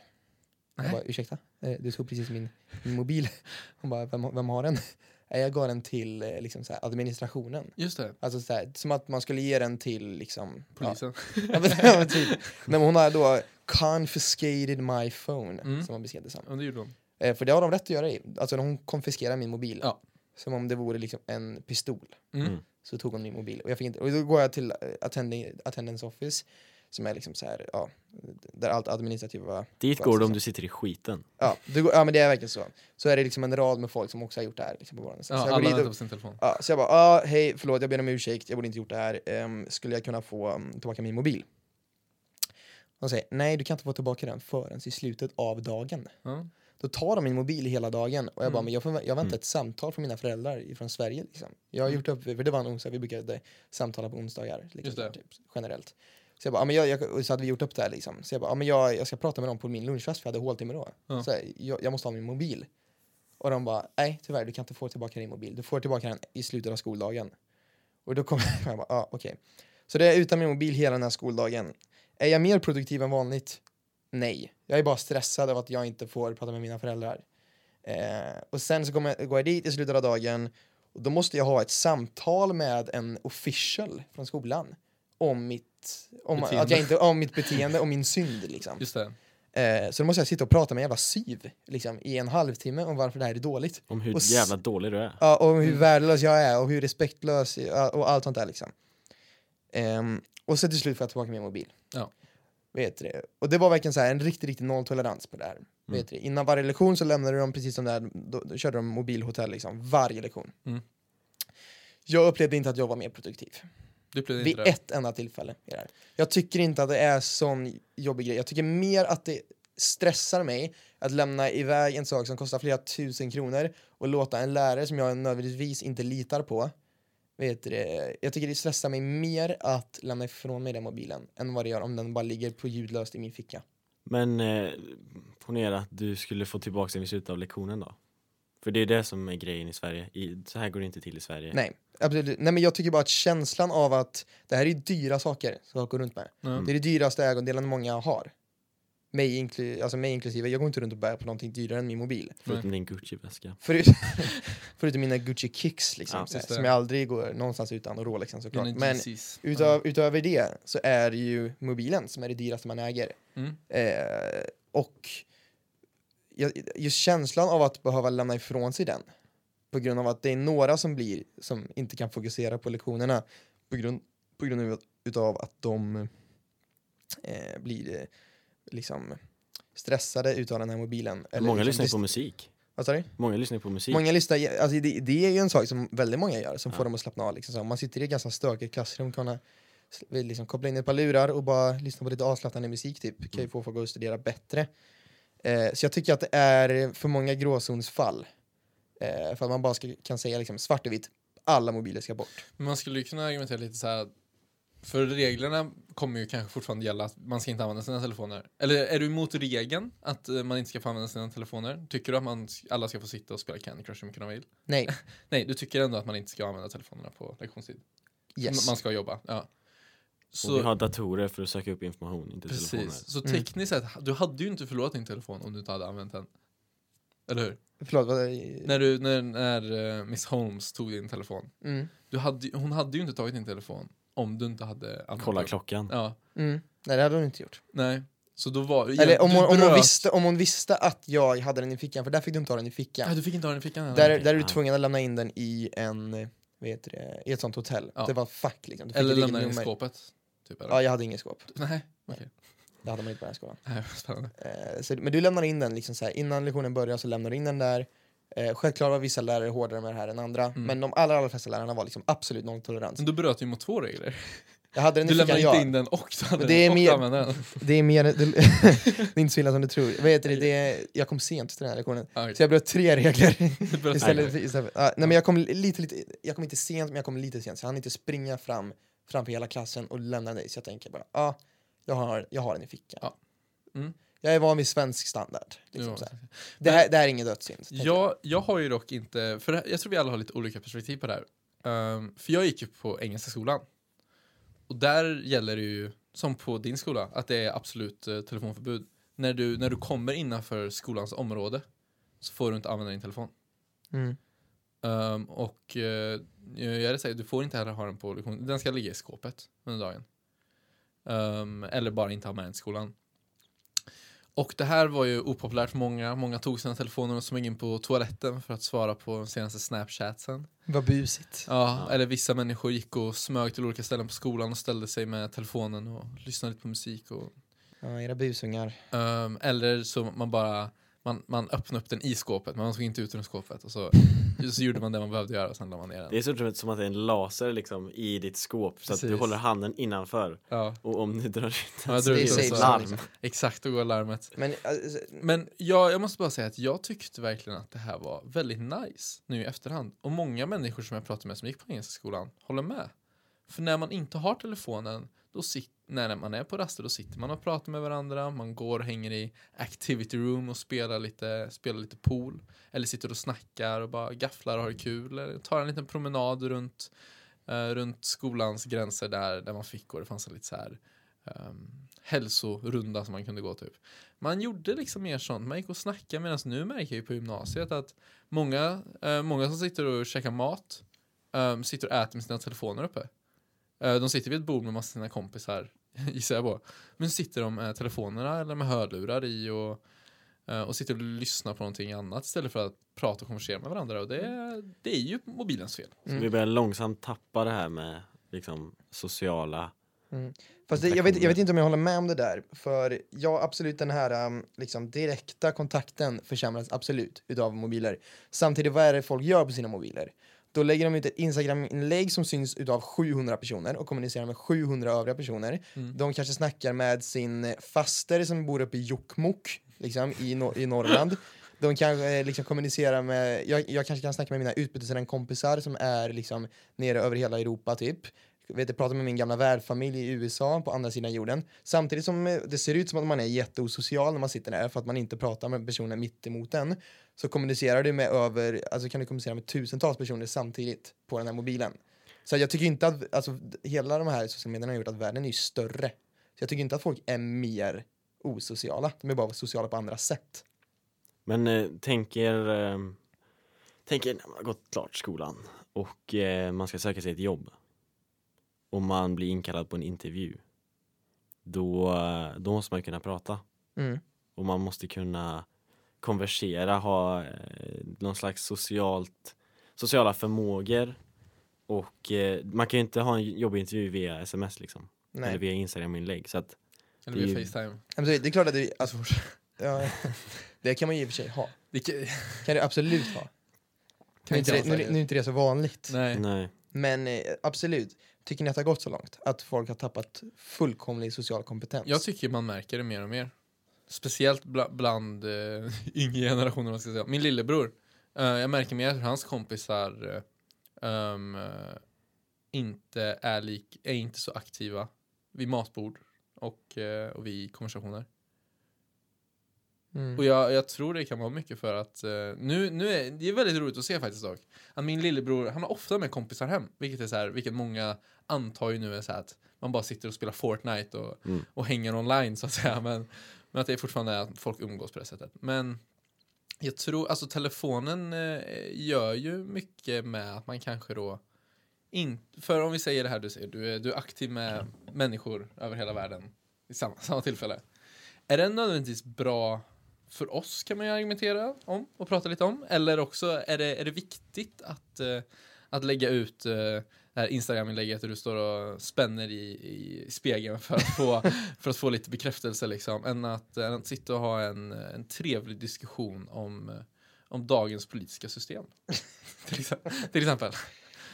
Nej. Jag bara, ursäkta, eh, du tog precis min, min mobil. Hon bara, vem, vem har den? Nej, jag gav den till eh, liksom, så här, administrationen. Just det, Alltså så här, som att man skulle ge den till liksom... polisen. Ja, ja, men, ja, men typ. Nej, men hon har då confiscated my phone, Mm. som man beskrev det som. Ja, det gjorde hon. Eh, för det har de rätt att göra. I. Alltså hon konfiskerar min mobil. Ja. Som om det vore liksom en pistol. Mm. Mm. Så tog hon min mobil. Och, jag fick inte, och då går jag till eh, attending, attendance office, som är liksom så här, ja, där allt administrativa... Dit går du om du sitter i skiten. Ja, du, går- ja, men det är verkligen så. Så är det liksom en rad med folk som också har gjort det här. Liksom, på våran. Så, så Ja, jag alla går dit väntar och på sin telefon. Ja, så jag bara, ah, hej, förlåt, jag ber om ursäkt, jag borde inte gjort det här. Ehm, skulle jag kunna få mm, tillbaka min mobil? De säger, nej, du kan inte få tillbaka den förrän i slutet av dagen. Ja. Då tar de min mobil hela dagen och jag Mm. bara, Mm. men jag, förvä- jag väntar Mm. ett samtal från mina föräldrar från Sverige. Liksom. Jag har gjort upp, för det var en onsdag, vi brukade samtala på onsdagar. Just Liksom, det. typ, generellt. Så jag bara, ah, men jag, jag, och så hade vi gjort upp det här liksom. Så jag bara, ah, men jag, jag ska prata med dem på min lunchrast för jag hade håltimme då. Ja. Så här, jag, jag måste ha min mobil. Och de bara, nej tyvärr du kan inte få tillbaka din mobil. Du får tillbaka den i slutet av skoldagen. Och då kom jag bara, ah, okej. Så det är utan min mobil hela den här skoldagen. Är jag mer produktiv än vanligt? Nej. Jag är bara stressad av att jag inte får prata med mina föräldrar. Eh, och sen så kommer jag, går jag dit i slutet av dagen och då måste jag ha ett samtal med en official från skolan om mitt, om, att Beteende. jag inte, om mitt beteende och min synd. Liksom. Just det. Eh, så då måste jag sitta och prata med en jävla syv liksom, i en halvtimme om varför det här är dåligt. Om hur Och s- jävla dålig du är. Ja, och hur Mm. värdelös jag är och hur respektlös jag- och allt sånt där liksom. Ehm, och så till slut får jag tillbaka min mobil. Ja. Vet du det? Och det var verkligen så här, en riktig, riktig nolltolerans på det här. Mm. Vet du det? Innan varje lektion så lämnade de precis som där, då, då körde de mobilhotell liksom, varje lektion. Mm. Jag upplevde inte att jag var mer produktiv. Du upplevde Vid inte det? ett enda tillfälle. är det här. Jag tycker inte att det är sån jobbig grej. Jag tycker mer att det stressar mig att lämna iväg en sak som kostar flera tusen kronor och låta en lärare som jag nödvändigtvis inte litar på. Vet du, det? jag tycker det stressar mig mer att lämna ifrån mig den mobilen än vad det gör om den bara ligger på ljudlöst i min ficka. Men eh, ponera att du skulle få tillbaka den vid slutet av lektionen då. För det är det som är grejen i Sverige. I, så här går det inte till i Sverige. Nej, absolut. Nej, men jag tycker bara att känslan av att det här är ju dyra saker som jag går runt med. Ja. Det är det dyraste ägodelen många har. Mig, inklu- alltså mig inklusive, jag går inte runt och bär på någonting dyrare än min mobil. Förutom din Gucci-väska. Förut, förutom mina Gucci kicks liksom, Ja, så här, just det. som jag aldrig går någonstans utan och Rolexen såklart. Dina Men GCs. utav, utöver det så är det ju mobilen som är det dyraste man äger. Mm. Eh, och jag, just känslan av att behöva lämna ifrån sig den på grund av att det är några som blir som inte kan fokusera på lektionerna på grund, på grund av- utav att de eh, blir eh, liksom stressade utav den här mobilen. Eller Många liksom lyssnar ju på dist- musik. Vad sa du? Många lyssnar ju på Typ. musik. Många lyssnar, alltså det, det är ju en sak som väldigt många gör som Ja. får dem att slappna av. Liksom. Så om man sitter i ett ganska stökigt klassrum kan man s- vill liksom koppla in ett par lurar och bara lyssna på lite avslappnande musik typ. Mm. Kan ju få folk att studera bättre. Eh, så jag tycker att det är för många gråzonsfall. Eh, för att man bara ska, kan säga liksom, svart och vitt, alla mobiler ska bort. Men man skulle ju kunna argumentera lite så här att för reglerna kommer ju kanske fortfarande gälla att man ska inte använda sina telefoner. Eller är du emot regeln att eh, man inte ska få använda sina telefoner? Tycker du att man, s- alla ska få sitta och spela Candy Crush hur mycket de vill? Nej, Nej, du tycker ändå att man inte ska använda telefonerna på lektionstid. yes. M- Man ska jobba, ja. Och vi Så, har datorer för att söka upp information, inte telefoner. precis. Så Mm. tekniskt sett, du hade ju inte förlorat din telefon om du inte hade använt den. Eller hur? Förlåt, vad... När, du, när, när eh, Miss Holmes tog din telefon. Mm, Du hade, ju- hon hade ju inte tagit din telefon om du inte hade använt Kolla den. klockan. Ja, mm. Nej, det hade hon inte gjort. nej. Så då var Eller om du hon, om, hon bröt- visste, om hon visste att jag hade den i fickan, för där fick du inte ha den i fickan. Ja, du fick inte ha den i fickan? eller? Där, där är du Ja. tvungen att lämna in den i en, eh, vad heter det, i ett sånt hotell. Ja. Det var fack liksom. Du fick Eller ditt eget lämna den i nummer. skåpet? Typ, eller? Ja, jag hade inget skåp. Nej, Det hade man inte på den här skolan. nej, vad spännande. Eh, så, men du lämnar in den liksom så här, innan lektionen börjar så lämnar du in den där. Eh, självklart var vissa lärare hårdare med det här än andra, Mm. men de allra, allra flesta lärarna var liksom absolut nolltolerans. Men då bröt du ju mot två regler. Jag hade den i Du lämnade fickan, inte ja. in den och du hade Men det är den och mer- du använde den. Det är mer, det, det är inte så illa som du tror. Vad heter det, det är, jag kom sent till den här lektionen, Ja, så jag bröt tre regler. du bröt- Istället för, istället för, ja, nej men jag kom lite, lite, jag kom inte sent men jag kom lite sent så jag hann inte springa fram framför hela klassen och lämna dig så jag tänker bara, ja, ah, jag, har, jag har den i fickan. Ja. Mm. Jag är van vid svensk standard. Liksom, Ja. så här. Det, här, det här är ingen dödssynd. tänker jag. Jag, jag har ju dock inte, för det här- jag tror vi alla har lite olika perspektiv på det här. Ehm, för jag gick ju på Engelska skolan. Och där gäller det ju, som på din skola, att det är absolut eh, telefonförbud. När du, när du kommer innanför skolans område så får du inte använda din telefon. Mm. Ehm, och eh, jag säger, du får inte heller ha den på lektion. Den ska ligga i skåpet under dagen. Ehm, eller bara inte ha med den till skolan. Och det här var ju opopulärt för många. Många tog sina telefoner och smög in på toaletten för att svara på den senaste snapchatsen. Vad busigt. Ja, eller vissa människor gick och smög till olika ställen på skolan och ställde sig med telefonen och lyssnade lite på musik. Och, Ja, era busungar. Ehm, eller så man bara man, man öppnade upp den i skåpet, men man såg inte ut ur skåpet. Och så, så gjorde man det man behövde göra och sen la man ner den. Det är så som- som att det är en laser liksom i ditt skåp så att du Precis. håller handen innanför Ja. och om du drar ut Ja, jag drar Det är ut den safe så- Mm. zone, larm. liksom. Exakt, då går larmet. Men alltså, Men jag, jag måste bara säga att jag tyckte verkligen att det här var väldigt nice nu i efterhand. Och många människor som jag pratade med som gick på Engelska skolan håller med. För när man inte har telefonen, då sit, när man är på raster, då sitter man och pratar med varandra. Man går och hänger i activity room och spelar lite, spelar lite pool. Eller sitter och snackar och bara gafflar och har kul. Eller tar en liten promenad runt, eh, runt skolans gränser där, där man fick gå. Det fanns en lite så här um, hälsorunda som man kunde gå typ. Man gjorde liksom mer sånt, man gick och snackade medan nu märker jag ju på gymnasiet att många, eh, många som sitter och käkar mat eh, sitter och äter med sina telefoner uppe. Eh, de sitter vid ett bord med massa sina kompisar, gissar jag på. Men så sitter de med telefonerna eller med hörlurar i och, eh, och sitter och lyssnar på någonting annat istället för att prata och konversera med varandra och det, det är ju mobilens fel. Så vi börjar långsamt tappa det här med liksom sociala Fast det, jag, vet, jag vet inte om jag håller med om det där. För ja, absolut den här um, liksom, direkta kontakten försämras absolut utav mobiler. Samtidigt, vad är det folk gör på sina mobiler? Då lägger de ut ett Instagram-inlägg som syns utav 700 personer och kommunicerar med 700 övriga personer. Mm. De kanske snackar med sin eh, faster som bor uppe i Jokkmokk, liksom, i, no- i Norrland. De kanske eh, liksom kommunicerar med, jag, jag kanske kan snacka med mina utbytesränkompisar som är liksom nere över hela Europa typ vet, jag pratar med min gamla värdfamilj i USA på andra sidan jorden. Samtidigt som eh, det ser ut som att man är jätteosocial när man sitter där för att man inte pratar med personer mitt emot en så kommunicerar du med över, alltså kan du kommunicera med tusentals personer samtidigt på den här mobilen. Så jag tycker inte att, alltså d- hela de här sociala medierna har gjort att världen är ju större. Så jag tycker inte att folk är mer osociala, de är bara sociala på andra sätt. Men eh, tänk er, eh, tänk er när man har gått klart skolan och eh, man ska söka sig ett jobb och man blir inkallad på en intervju. Då, eh, då måste man ju kunna prata Mm. och man måste kunna konversera, ha eh, någon slags socialt, sociala förmågor och eh, man kan ju inte ha en jobbintervju via sms liksom eller Nej. via instagram-inlägg så att Eller Det är via ju- Facetime. Men Det det är klart att det, alltså, Alltså, ja, det kan man ju i och för sig ha. det kan, kan det absolut ha. Nu är, inte det, nu, nu är inte det så vanligt. Nej. nej. Men eh, absolut, tycker ni att det har gått så långt? Att folk har tappat fullkomlig social kompetens? Jag tycker man märker det mer och mer. Speciellt bla- bland eh, yngre generationer. om man Ska säga. Min lillebror. Eh, jag märker mer hur hans kompisar eh, ehm, eh, inte är, lik, är inte så aktiva vid matbord och, eh, och vid konversationer. mm. Och jag, jag tror det kan vara mycket för att eh, nu, nu är det är väldigt roligt att se faktiskt dock. Att min lillebror, han har ofta med kompisar hem, vilket är så här, vilket många antar ju nu är så här att man bara sitter och spelar Fortnite och, Mm. och hänger online så att säga. Men, men att det är fortfarande är att folk umgås på det sättet. Men jag tror, alltså telefonen eh, gör ju mycket med att man kanske då in, för om vi säger det här du säger, du är, du är aktiv med människor över hela världen i samma, samma tillfälle. Är det nödvändigtvis bra för oss kan man ju argumentera om och prata lite om. Eller också är det, är det viktigt att, eh, att lägga ut eh, det här Instagram-inlägget där du står och spänner i, i spegeln för att få, för att få lite bekräftelse liksom. Än att, än att sitta och ha en, en trevlig diskussion om, eh, om dagens politiska system. till, exempel, till exempel.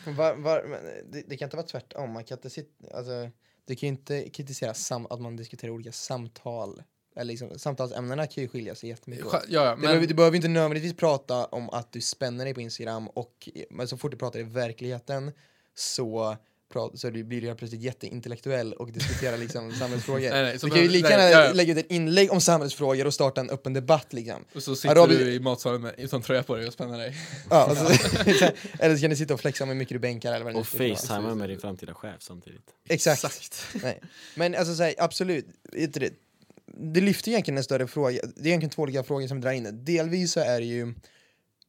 Var, var, men eh, det, det kan inte vara tvärtom. Man kan inte sitta, alltså, du kan ju inte kritisera sam, att man diskuterar olika samtal. Eller liksom, samtalsämnena kan ju skilja sig jättemycket åt. Ja, ja, Du, behöver, men, du behöver inte nödvändigtvis prata om att du spänner dig på Instagram och men så fort du pratar i verkligheten så pra- så du blir du helt plötsligt jätteintellektuell och diskuterar liksom samhällsfrågor. Nej, nej, så du kan ju behöver- lika nej, gärna ja, ja. lägga ut ett inlägg om samhällsfrågor och starta en öppen debatt liksom. Och så sitter Arabi- du i matsalen med, utan tröja på dig och spänner dig. Ja, alltså, eller så kan du sitta och flexa om hur mycket du bänkar eller vad det nu Och skulle vara. facetimea med din framtida chef samtidigt. Exakt. Nej. Men alltså så här, absolut, vet du det, det lyfter egentligen en större fråga. Det är egentligen två olika frågor som drar in det. Delvis så är det ju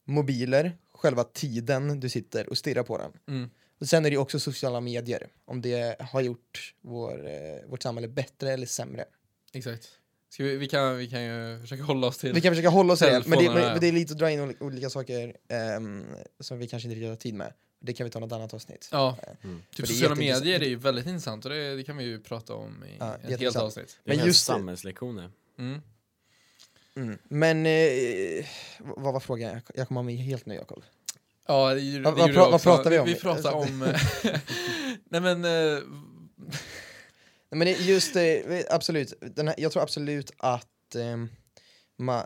mobiler, själva tiden du sitter och stirrar på den. Mm. Och sen är det ju också sociala medier, om det har gjort vår, eh, vårt samhälle bättre eller sämre. Exakt. Ska vi, vi, kan, vi kan ju försöka hålla oss till... Vi kan försöka hålla oss till det, men det, Telefonerna, ja. men det är lite att dra in oli- olika saker ehm, som vi kanske inte riktigt har tid med. Det kan vi ta något annat avsnitt. Ja, Mm. typ det är sociala jätteintressant. medier är ju väldigt intressant och det, det kan vi ju prata om i Ja, ett helt jätteintressant. avsnitt. Det Men men just just det- samhällslektioner. Mm. Mm. Men eh, vad var frågan? Jag- Jag kommer ha mig helt nu, Jakob. Ja, det, gjorde- Vad- det vad gjorde pra- jag vad också. pratar vi om? Vi pratar om... eh, Nej men... eh, Nej, Men det- just det, absolut. Den här, jag tror absolut att, ehm, ma,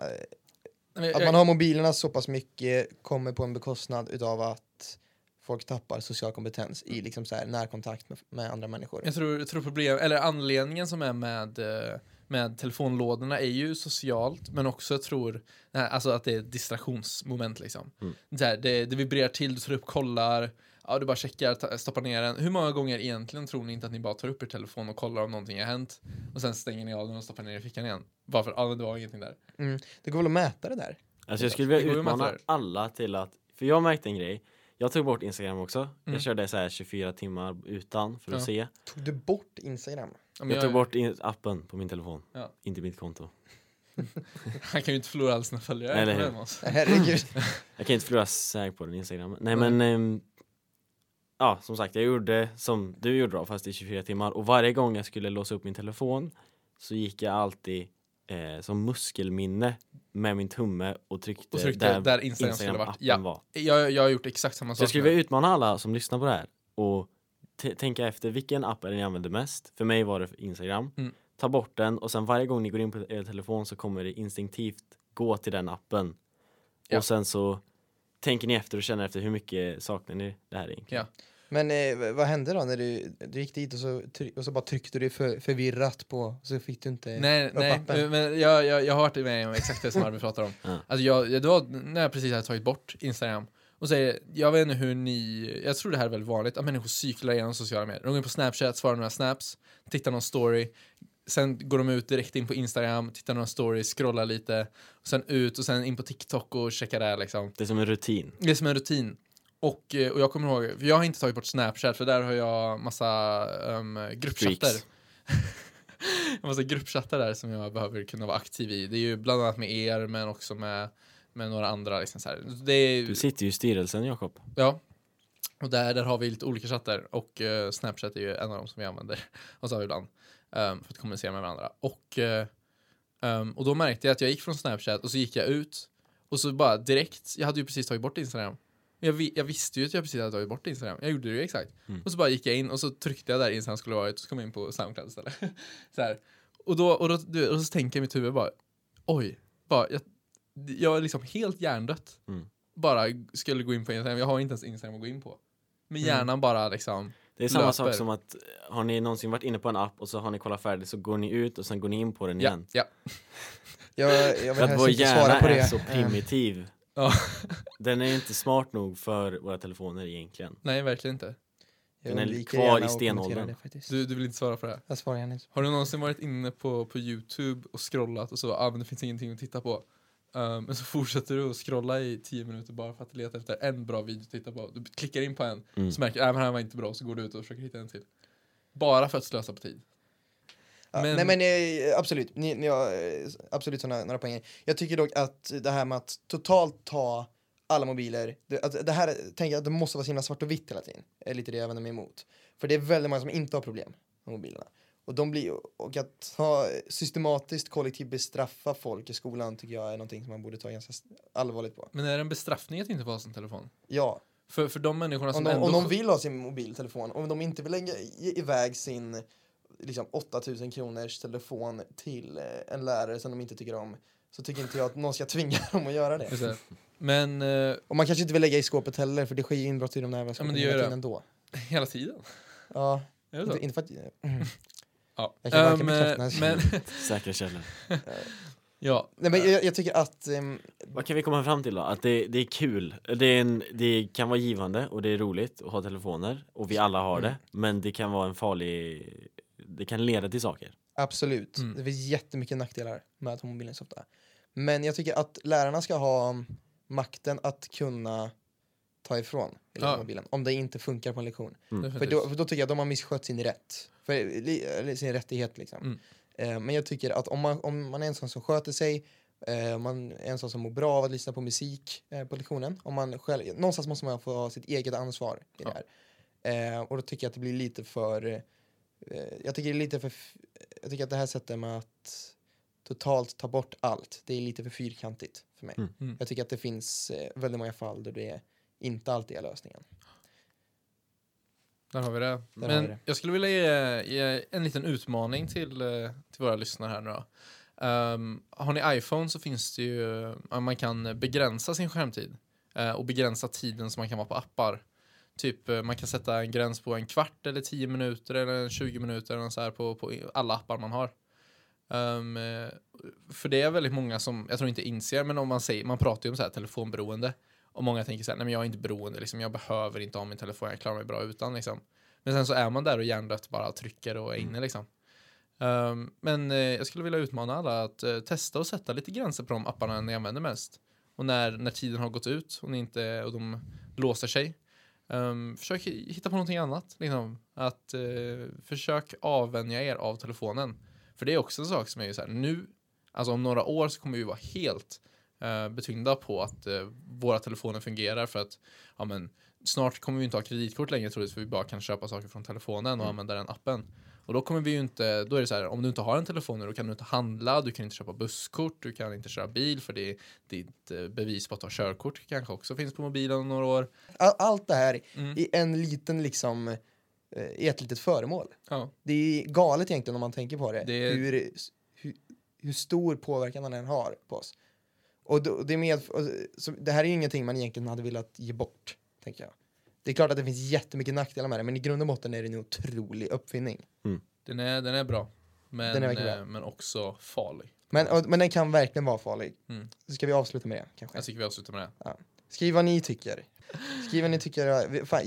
nej, att jag- man har mobilerna så pass mycket kommer på en bekostnad utav att folk tappar social kompetens i Mm. liksom så här närkontakt med, med andra människor. Jag tror, jag tror problem, eller anledningen som är med, eh, med telefonlådorna är ju socialt, men också jag tror eh, alltså att det är ett distraktionsmoment liksom. Mm. Så här, det, det vibrerar till, du tar upp, kollar, ja, du bara checkar, ta, stoppar ner den. Hur många gånger egentligen tror ni inte att ni bara tar upp er telefon och kollar om någonting har hänt och sen stänger ni av den och stoppar ner den i fickan igen? Bara för att ah, men det var ingenting där. Mm. Det går väl att mäta det där? Alltså jag skulle Det går vilja ju med utmana för. alla till att, för jag märkte en grej. Jag tog bort Instagram också. Mm. Jag körde så här 24 timmar utan för att Ja. se. Tog du bort Instagram? Ja, men Jag tog bort in- appen på min telefon. Ja. Inte mitt konto. Han kan ju inte förlora alla sina följare. Eller på hur? den, alltså. Herregud. Jag kan inte förlora säg på den Instagram. Nej Nej. men ehm, Ja som sagt jag gjorde som du gjorde då fast i 24 timmar och varje gång jag skulle låsa upp min telefon så gick jag alltid eh, som muskelminne med min tumme och tryckte, Och tryckte där, Instagram, skulle ha varit. Instagram-appen Ja, var. jag, jag har gjort exakt samma Så jag sak. skulle där. vilja utmana alla som lyssnar på det här och t- tänka efter vilken app är det ni använder mest? För mig var det Instagram. Mm. Ta bort den och sen varje gång ni går in på er telefon så kommer det instinktivt gå till den appen. Ja. Och sen så tänker ni efter och känner efter hur mycket saknar ni det här egentligen? Men eh, v- vad hände då när du, du gick dit och så, try- och så bara tryckte du för, förvirrat på, så fick du inte Nej, upp nej appen? men jag, jag, jag har varit med om exakt det som Arvid pratar om. Ja. Alltså jag, jag- det var när jag precis hade tagit bort Instagram och säger, jag vet inte hur ni, jag tror det här är väldigt vanligt, att människor cyklar igenom sociala medier. De går in på Snapchat, svarar några snaps, tittar någon story, sen går de ut direkt in på Instagram, tittar några stories, scrollar lite, och sen ut och sen in på TikTok och checkar där liksom. Det är som en rutin. Det är som en rutin. Och, eh, och jag kommer ihåg, för jag har inte tagit bort Snapchat för där har jag massa um, gruppchatter. Streaks. Jag har massa gruppchattar där som jag behöver kunna vara aktiv i. Det är ju bland annat med er men också med, med några andra. Liksom så här. Det är, Du sitter ju i styrelsen Jakob. ja. Och där, där har vi lite olika chattar och eh, Snapchat är ju en av dem som vi använder oss av ibland ehm, för att kommunicera med varandra. Och, eh, ehm, och då märkte jag att jag gick från Snapchat och så gick jag ut och så bara direkt, jag hade ju precis tagit bort Instagram. Jag, vi, jag visste ju att jag precis hade tagit bort Instagram. Jag gjorde det ju exakt. Mm. Och så bara gick jag in och så tryckte jag där Instagram skulle vara och så kom jag in på Soundcloud istället. så här. Och, då, och, då, du, och så tänker jag i mitt huvud bara, oj, bara, jag, jag är liksom helt hjärndött. Mm. Bara skulle gå in på Instagram, jag har inte ens Instagram att gå in på. Men Mm. hjärnan bara liksom, Det är samma Löper. sak som att eh, har ni någonsin varit inne på en app och så har ni kollat färdigt så går ni ut och sen går ni in på den ja, igen. ja. Jag, jag vill För att helst vår inte svara på hjärna det. är så Ehm, primitiv. ja. Den är inte smart nog för våra telefoner egentligen. Nej, verkligen inte. jag den är undviker kvar i gärna att kommentera stenåldern. det faktiskt. Du, du vill inte svara på det här. Jag svarar gärna inte. Har du någonsin varit inne på, på YouTube och scrollat och så, ah, men det finns ingenting att titta på. Ehm, Men så fortsätter du att scrolla i tio minuter bara för att leta efter en bra video att titta på. Du klickar in på en, Mm. så märker du att den här var inte bra, så går du ut och försöker hitta en till. Bara för att slösa på tid. Ja, Men- Nej men eh, absolut, ni, ni har eh, absolut såna, några poänger. Jag tycker dock att det här med att totalt ta alla mobiler, det, att det här tänker jag att det måste vara så himla svart och vitt hela tiden. är lite det jag vänder mig emot. För det är väldigt många som inte har problem med mobilerna. Och, de blir, och att ha systematiskt kollektivt bestraffa folk i skolan tycker jag är någonting som man borde ta ganska s- allvarligt på. Men är det en bestraffning att inte få ha sin telefon? Ja, För, för de människorna om som de, ändå... om de vill ha sin mobiltelefon, om de inte vill lägga i- iväg sin liksom 8000 kronors telefon till eh, en lärare som de inte tycker om så tycker inte jag att någon ska tvinga dem att göra det. Just det. Men eh, Och man kanske inte vill lägga i skåpet heller för det sker ju inbrott i de där jävla men skåpen det hela gör det. tiden ändå. hela tiden. Ja, Är det så? inte, inte för att... Mm. Ja. Jag kan varken Ehm, bekräfta eller men, Säkra källor. ja, Nej men jag, jag tycker att... ehm, Vad kan vi komma fram till då? Att det, det är kul, det, är en, det kan vara givande och det är roligt att ha telefoner och vi alla har Mm. det men det kan vara en farlig, det kan leda till saker. Absolut. Mm. Det finns jättemycket nackdelar med att ha mobilen så ofta. Men jag tycker att lärarna ska ha ehm, makten att kunna ta ifrån eleven Ja. mobilen om det inte funkar på en lektion. Mm. För definitivt. då, för då tycker jag att de har misskött sin rätt. För, li- eller sin rättighet liksom. Mm. Eh, men jag tycker att om man, om man är en sån som sköter sig, eh, man är en sån som mår bra av att lyssna på musik eh, på lektionen. Om man själv, någonstans måste man få ha sitt eget ansvar i Ja. det här. Eh, och då tycker jag att det blir lite för... Eh, jag tycker det är lite för... f- Jag tycker att det här sättet med att totalt ta bort allt, det är lite för fyrkantigt för mig. Mm. Mm. Jag tycker att det finns eh, väldigt många fall där det inte alltid är lösningen. Där har vi det. Där Men har vi det. jag skulle vilja ge, ge en liten utmaning till, eh, till våra lyssnare här nu då. Ehm, har ni iPhone så finns det ju, ja, man kan begränsa sin skärmtid eh, och begränsa tiden som man kan vara på appar. Typ eh, man kan sätta en gräns på en kvart eller 10 minuter eller 20 minuter eller något så här på, på alla appar man har. Ehm, eh, för det är väldigt många som, jag tror inte inser, men om man säger, man pratar ju om så här telefonberoende. Och många tänker så här, nej men jag är inte beroende, liksom, jag behöver inte ha min telefon, jag klarar mig bra utan liksom. Men sen så är man där och hjärndött bara trycker och är inne liksom. Ehm, men eh, jag skulle vilja utmana alla att eh, testa och sätta lite gränser på de apparna ni använder mest. Och när, när tiden har gått ut och, ni inte, och de låser sig, ehm, försök hi- hitta på någonting annat. Liksom. Att, eh, försök avvänja er av telefonen. För det är också en sak som är ju så här, nu, alltså om några år så kommer vi vara helt eh, betyngda på att eh, våra telefoner fungerar för att ja, men, snart kommer vi inte ha kreditkort längre troligtvis för vi bara kan köpa saker från telefonen och Mm. använda den appen. Och då kommer vi ju inte, då är det så här, om du inte har en telefon nu, då kan du inte handla, du kan inte köpa busskort, du kan inte köra bil för det, ditt eh, bevis på att du har körkort kanske också finns på mobilen om några år. All, allt det här Mm. i en liten liksom eh, i ett litet föremål. Ja, Det är galet egentligen om man tänker på det. Det är- Hur, hur, hur stor påverkan den har på oss. Och då- det, med, och så, det här är ju ingenting man egentligen hade velat ge bort, tänker jag. Det är klart att det finns jättemycket nackdelar med det, men i grund och botten är det en otrolig uppfinning. den är, den är bra. Men, Den är verkligen eh, men också farlig. Men, och, men den kan verkligen vara farlig. Mm. Så ska vi avsluta med det, kanske? Jag tycker vi avslutar med det. Skriv vad ni tycker. Skriv vad ni tycker. Vi- Fan,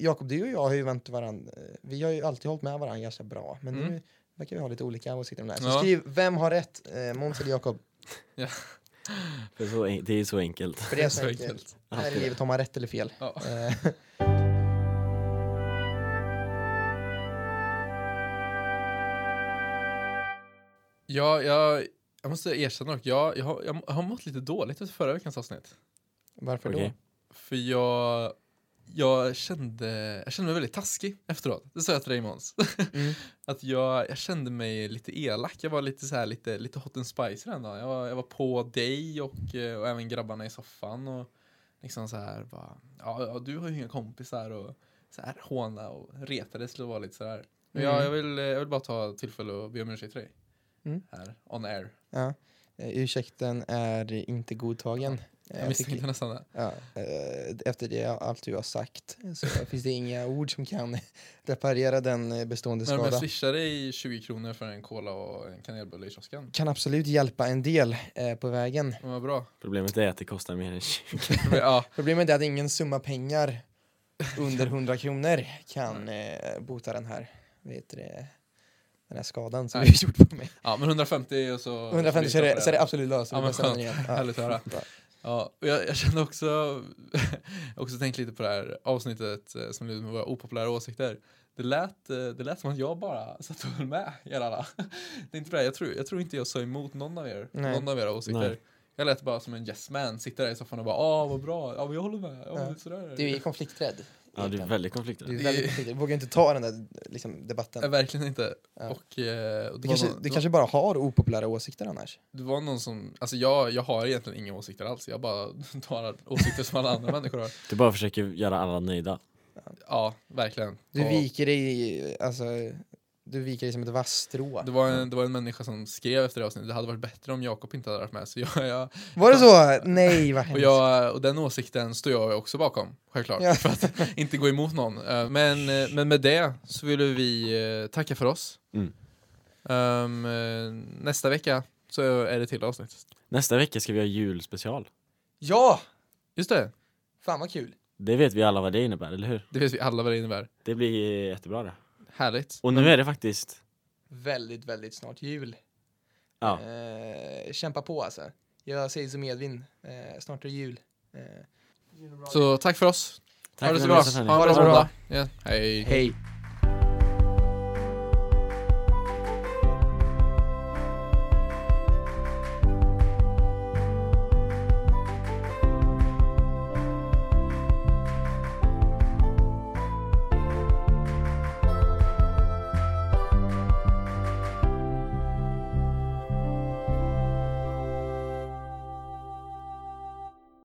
Jakob, du och jag har ju vänt varandra. Vi har ju alltid hållit med varandra ganska bra. Men nu Mm. verkar vi ha lite olika åsikter om det här. Så Ja. skriv, vem har rätt? Eh, Måns eller Jakob? Det är så, en- det är så enkelt. För det är så enkelt. Här är Alltid. givet om man har rätt eller fel. Ja. Eh, Ja, jag, jag måste erkänna dock, jag, jag, har, jag har mått lite dåligt efter förra veckans avsnitt. varför Okej. För jag, jag, kände, jag kände mig väldigt taskig efteråt. Det sa jag till dig Måns. Mm. att jag, jag kände mig lite elak. Jag var lite så här, lite, lite hot and spicy den dagen. Jag var, jag var på dig och, eh, och även grabbarna i soffan. Och liksom så här bara, ja, ja du har ju inga kompisar och så här håna och retades och var lite så här. Men Mm. jag, jag, vill, eh, jag vill bara ta tillfälle och be om ursäkt till dig. Mm. Här, on air. då? Ja. Eh, Ursäkten är inte godtagen. Eh, Jag jag tycker- misstänkte nästan det. Ja, eh, efter det, allt du har sagt så finns det inga ord som kan reparera den eh, bestående Men alltså- om jag skada. swishar dig 20 kronor för en cola och en kanelbulle i kiosken. Kan absolut hjälpa en del eh, på vägen. Men Vad bra. Problemet är att det kostar mer än 20. Ja, Problemet är att ingen summa pengar under 100 kronor kan eh, bota den här, vet du, det, den här skadan som Nej. du har gjort på mig. ja men 150 och så... 150 så är det, så är det absolut löst. Ja, men Jag bestämmer skönt. igen. Härligt att höra. Bra. Ja, och jag, jag kände också, jag har också tänkt lite på det här avsnittet eh, som lyder med våra opopulära åsikter. Det lät, eh, det lät som att jag bara satt och höll med er alla. Det är inte det, jag tror, jag tror inte jag sa emot någon av er, Nej. någon av era åsikter. Nej. Jag lät bara som en yes man, sitter där i soffan och bara ah vad bra, ja men jag håller med, ja, Ja. men sådär. Du är konflikträdd. Ja, du är egentligen. väldigt konflikträdd. Du är väldigt Det- konflikträdd. Du vågar inte ta den där liksom, Nej, debatten. verkligen inte. Ja. Och, eh, och det Du var kanske, någon- du kanske bara har opopulära åsikter annars. Det var någon som, alltså jag, jag har egentligen inga åsikter alls. Jag bara tar åsikter som alla andra människor har. Du bara försöker göra alla nöjda. Ja, verkligen. Du Och- viker dig, alltså, du viker dig som ett vasstrå. Det var, en, det var en människa som skrev efter det här avsnittet, det hade varit bättre om Jakob inte hade varit med. Så jag, jag, Var det så? Nej, vad och, hemskt. jag, och den åsikten står jag också bakom, självklart. Ja. För att inte gå emot någon. Eh, Men, eh, men med det så vill vi eh, tacka för oss. Mm. Ehm, eh, nästa vecka så är det till avsnitt. Nästa vecka ska vi ha julspecial. Ja! Just det, Fan vad kul. Det vet vi alla vad det innebär, eller hur? det vet vi alla vad det innebär. Det blir jättebra det. Härligt. Och nu är det faktiskt... Väldigt, väldigt snart jul. Ja, Eh, kämpa på alltså. Jag säger som Edvin, eh, snart är det jul. Eh, Så tack för oss. tack ha det så för bra. att ni lyssnade. Ha en Ha det bra bra. måndag. Ja. Hej. hej.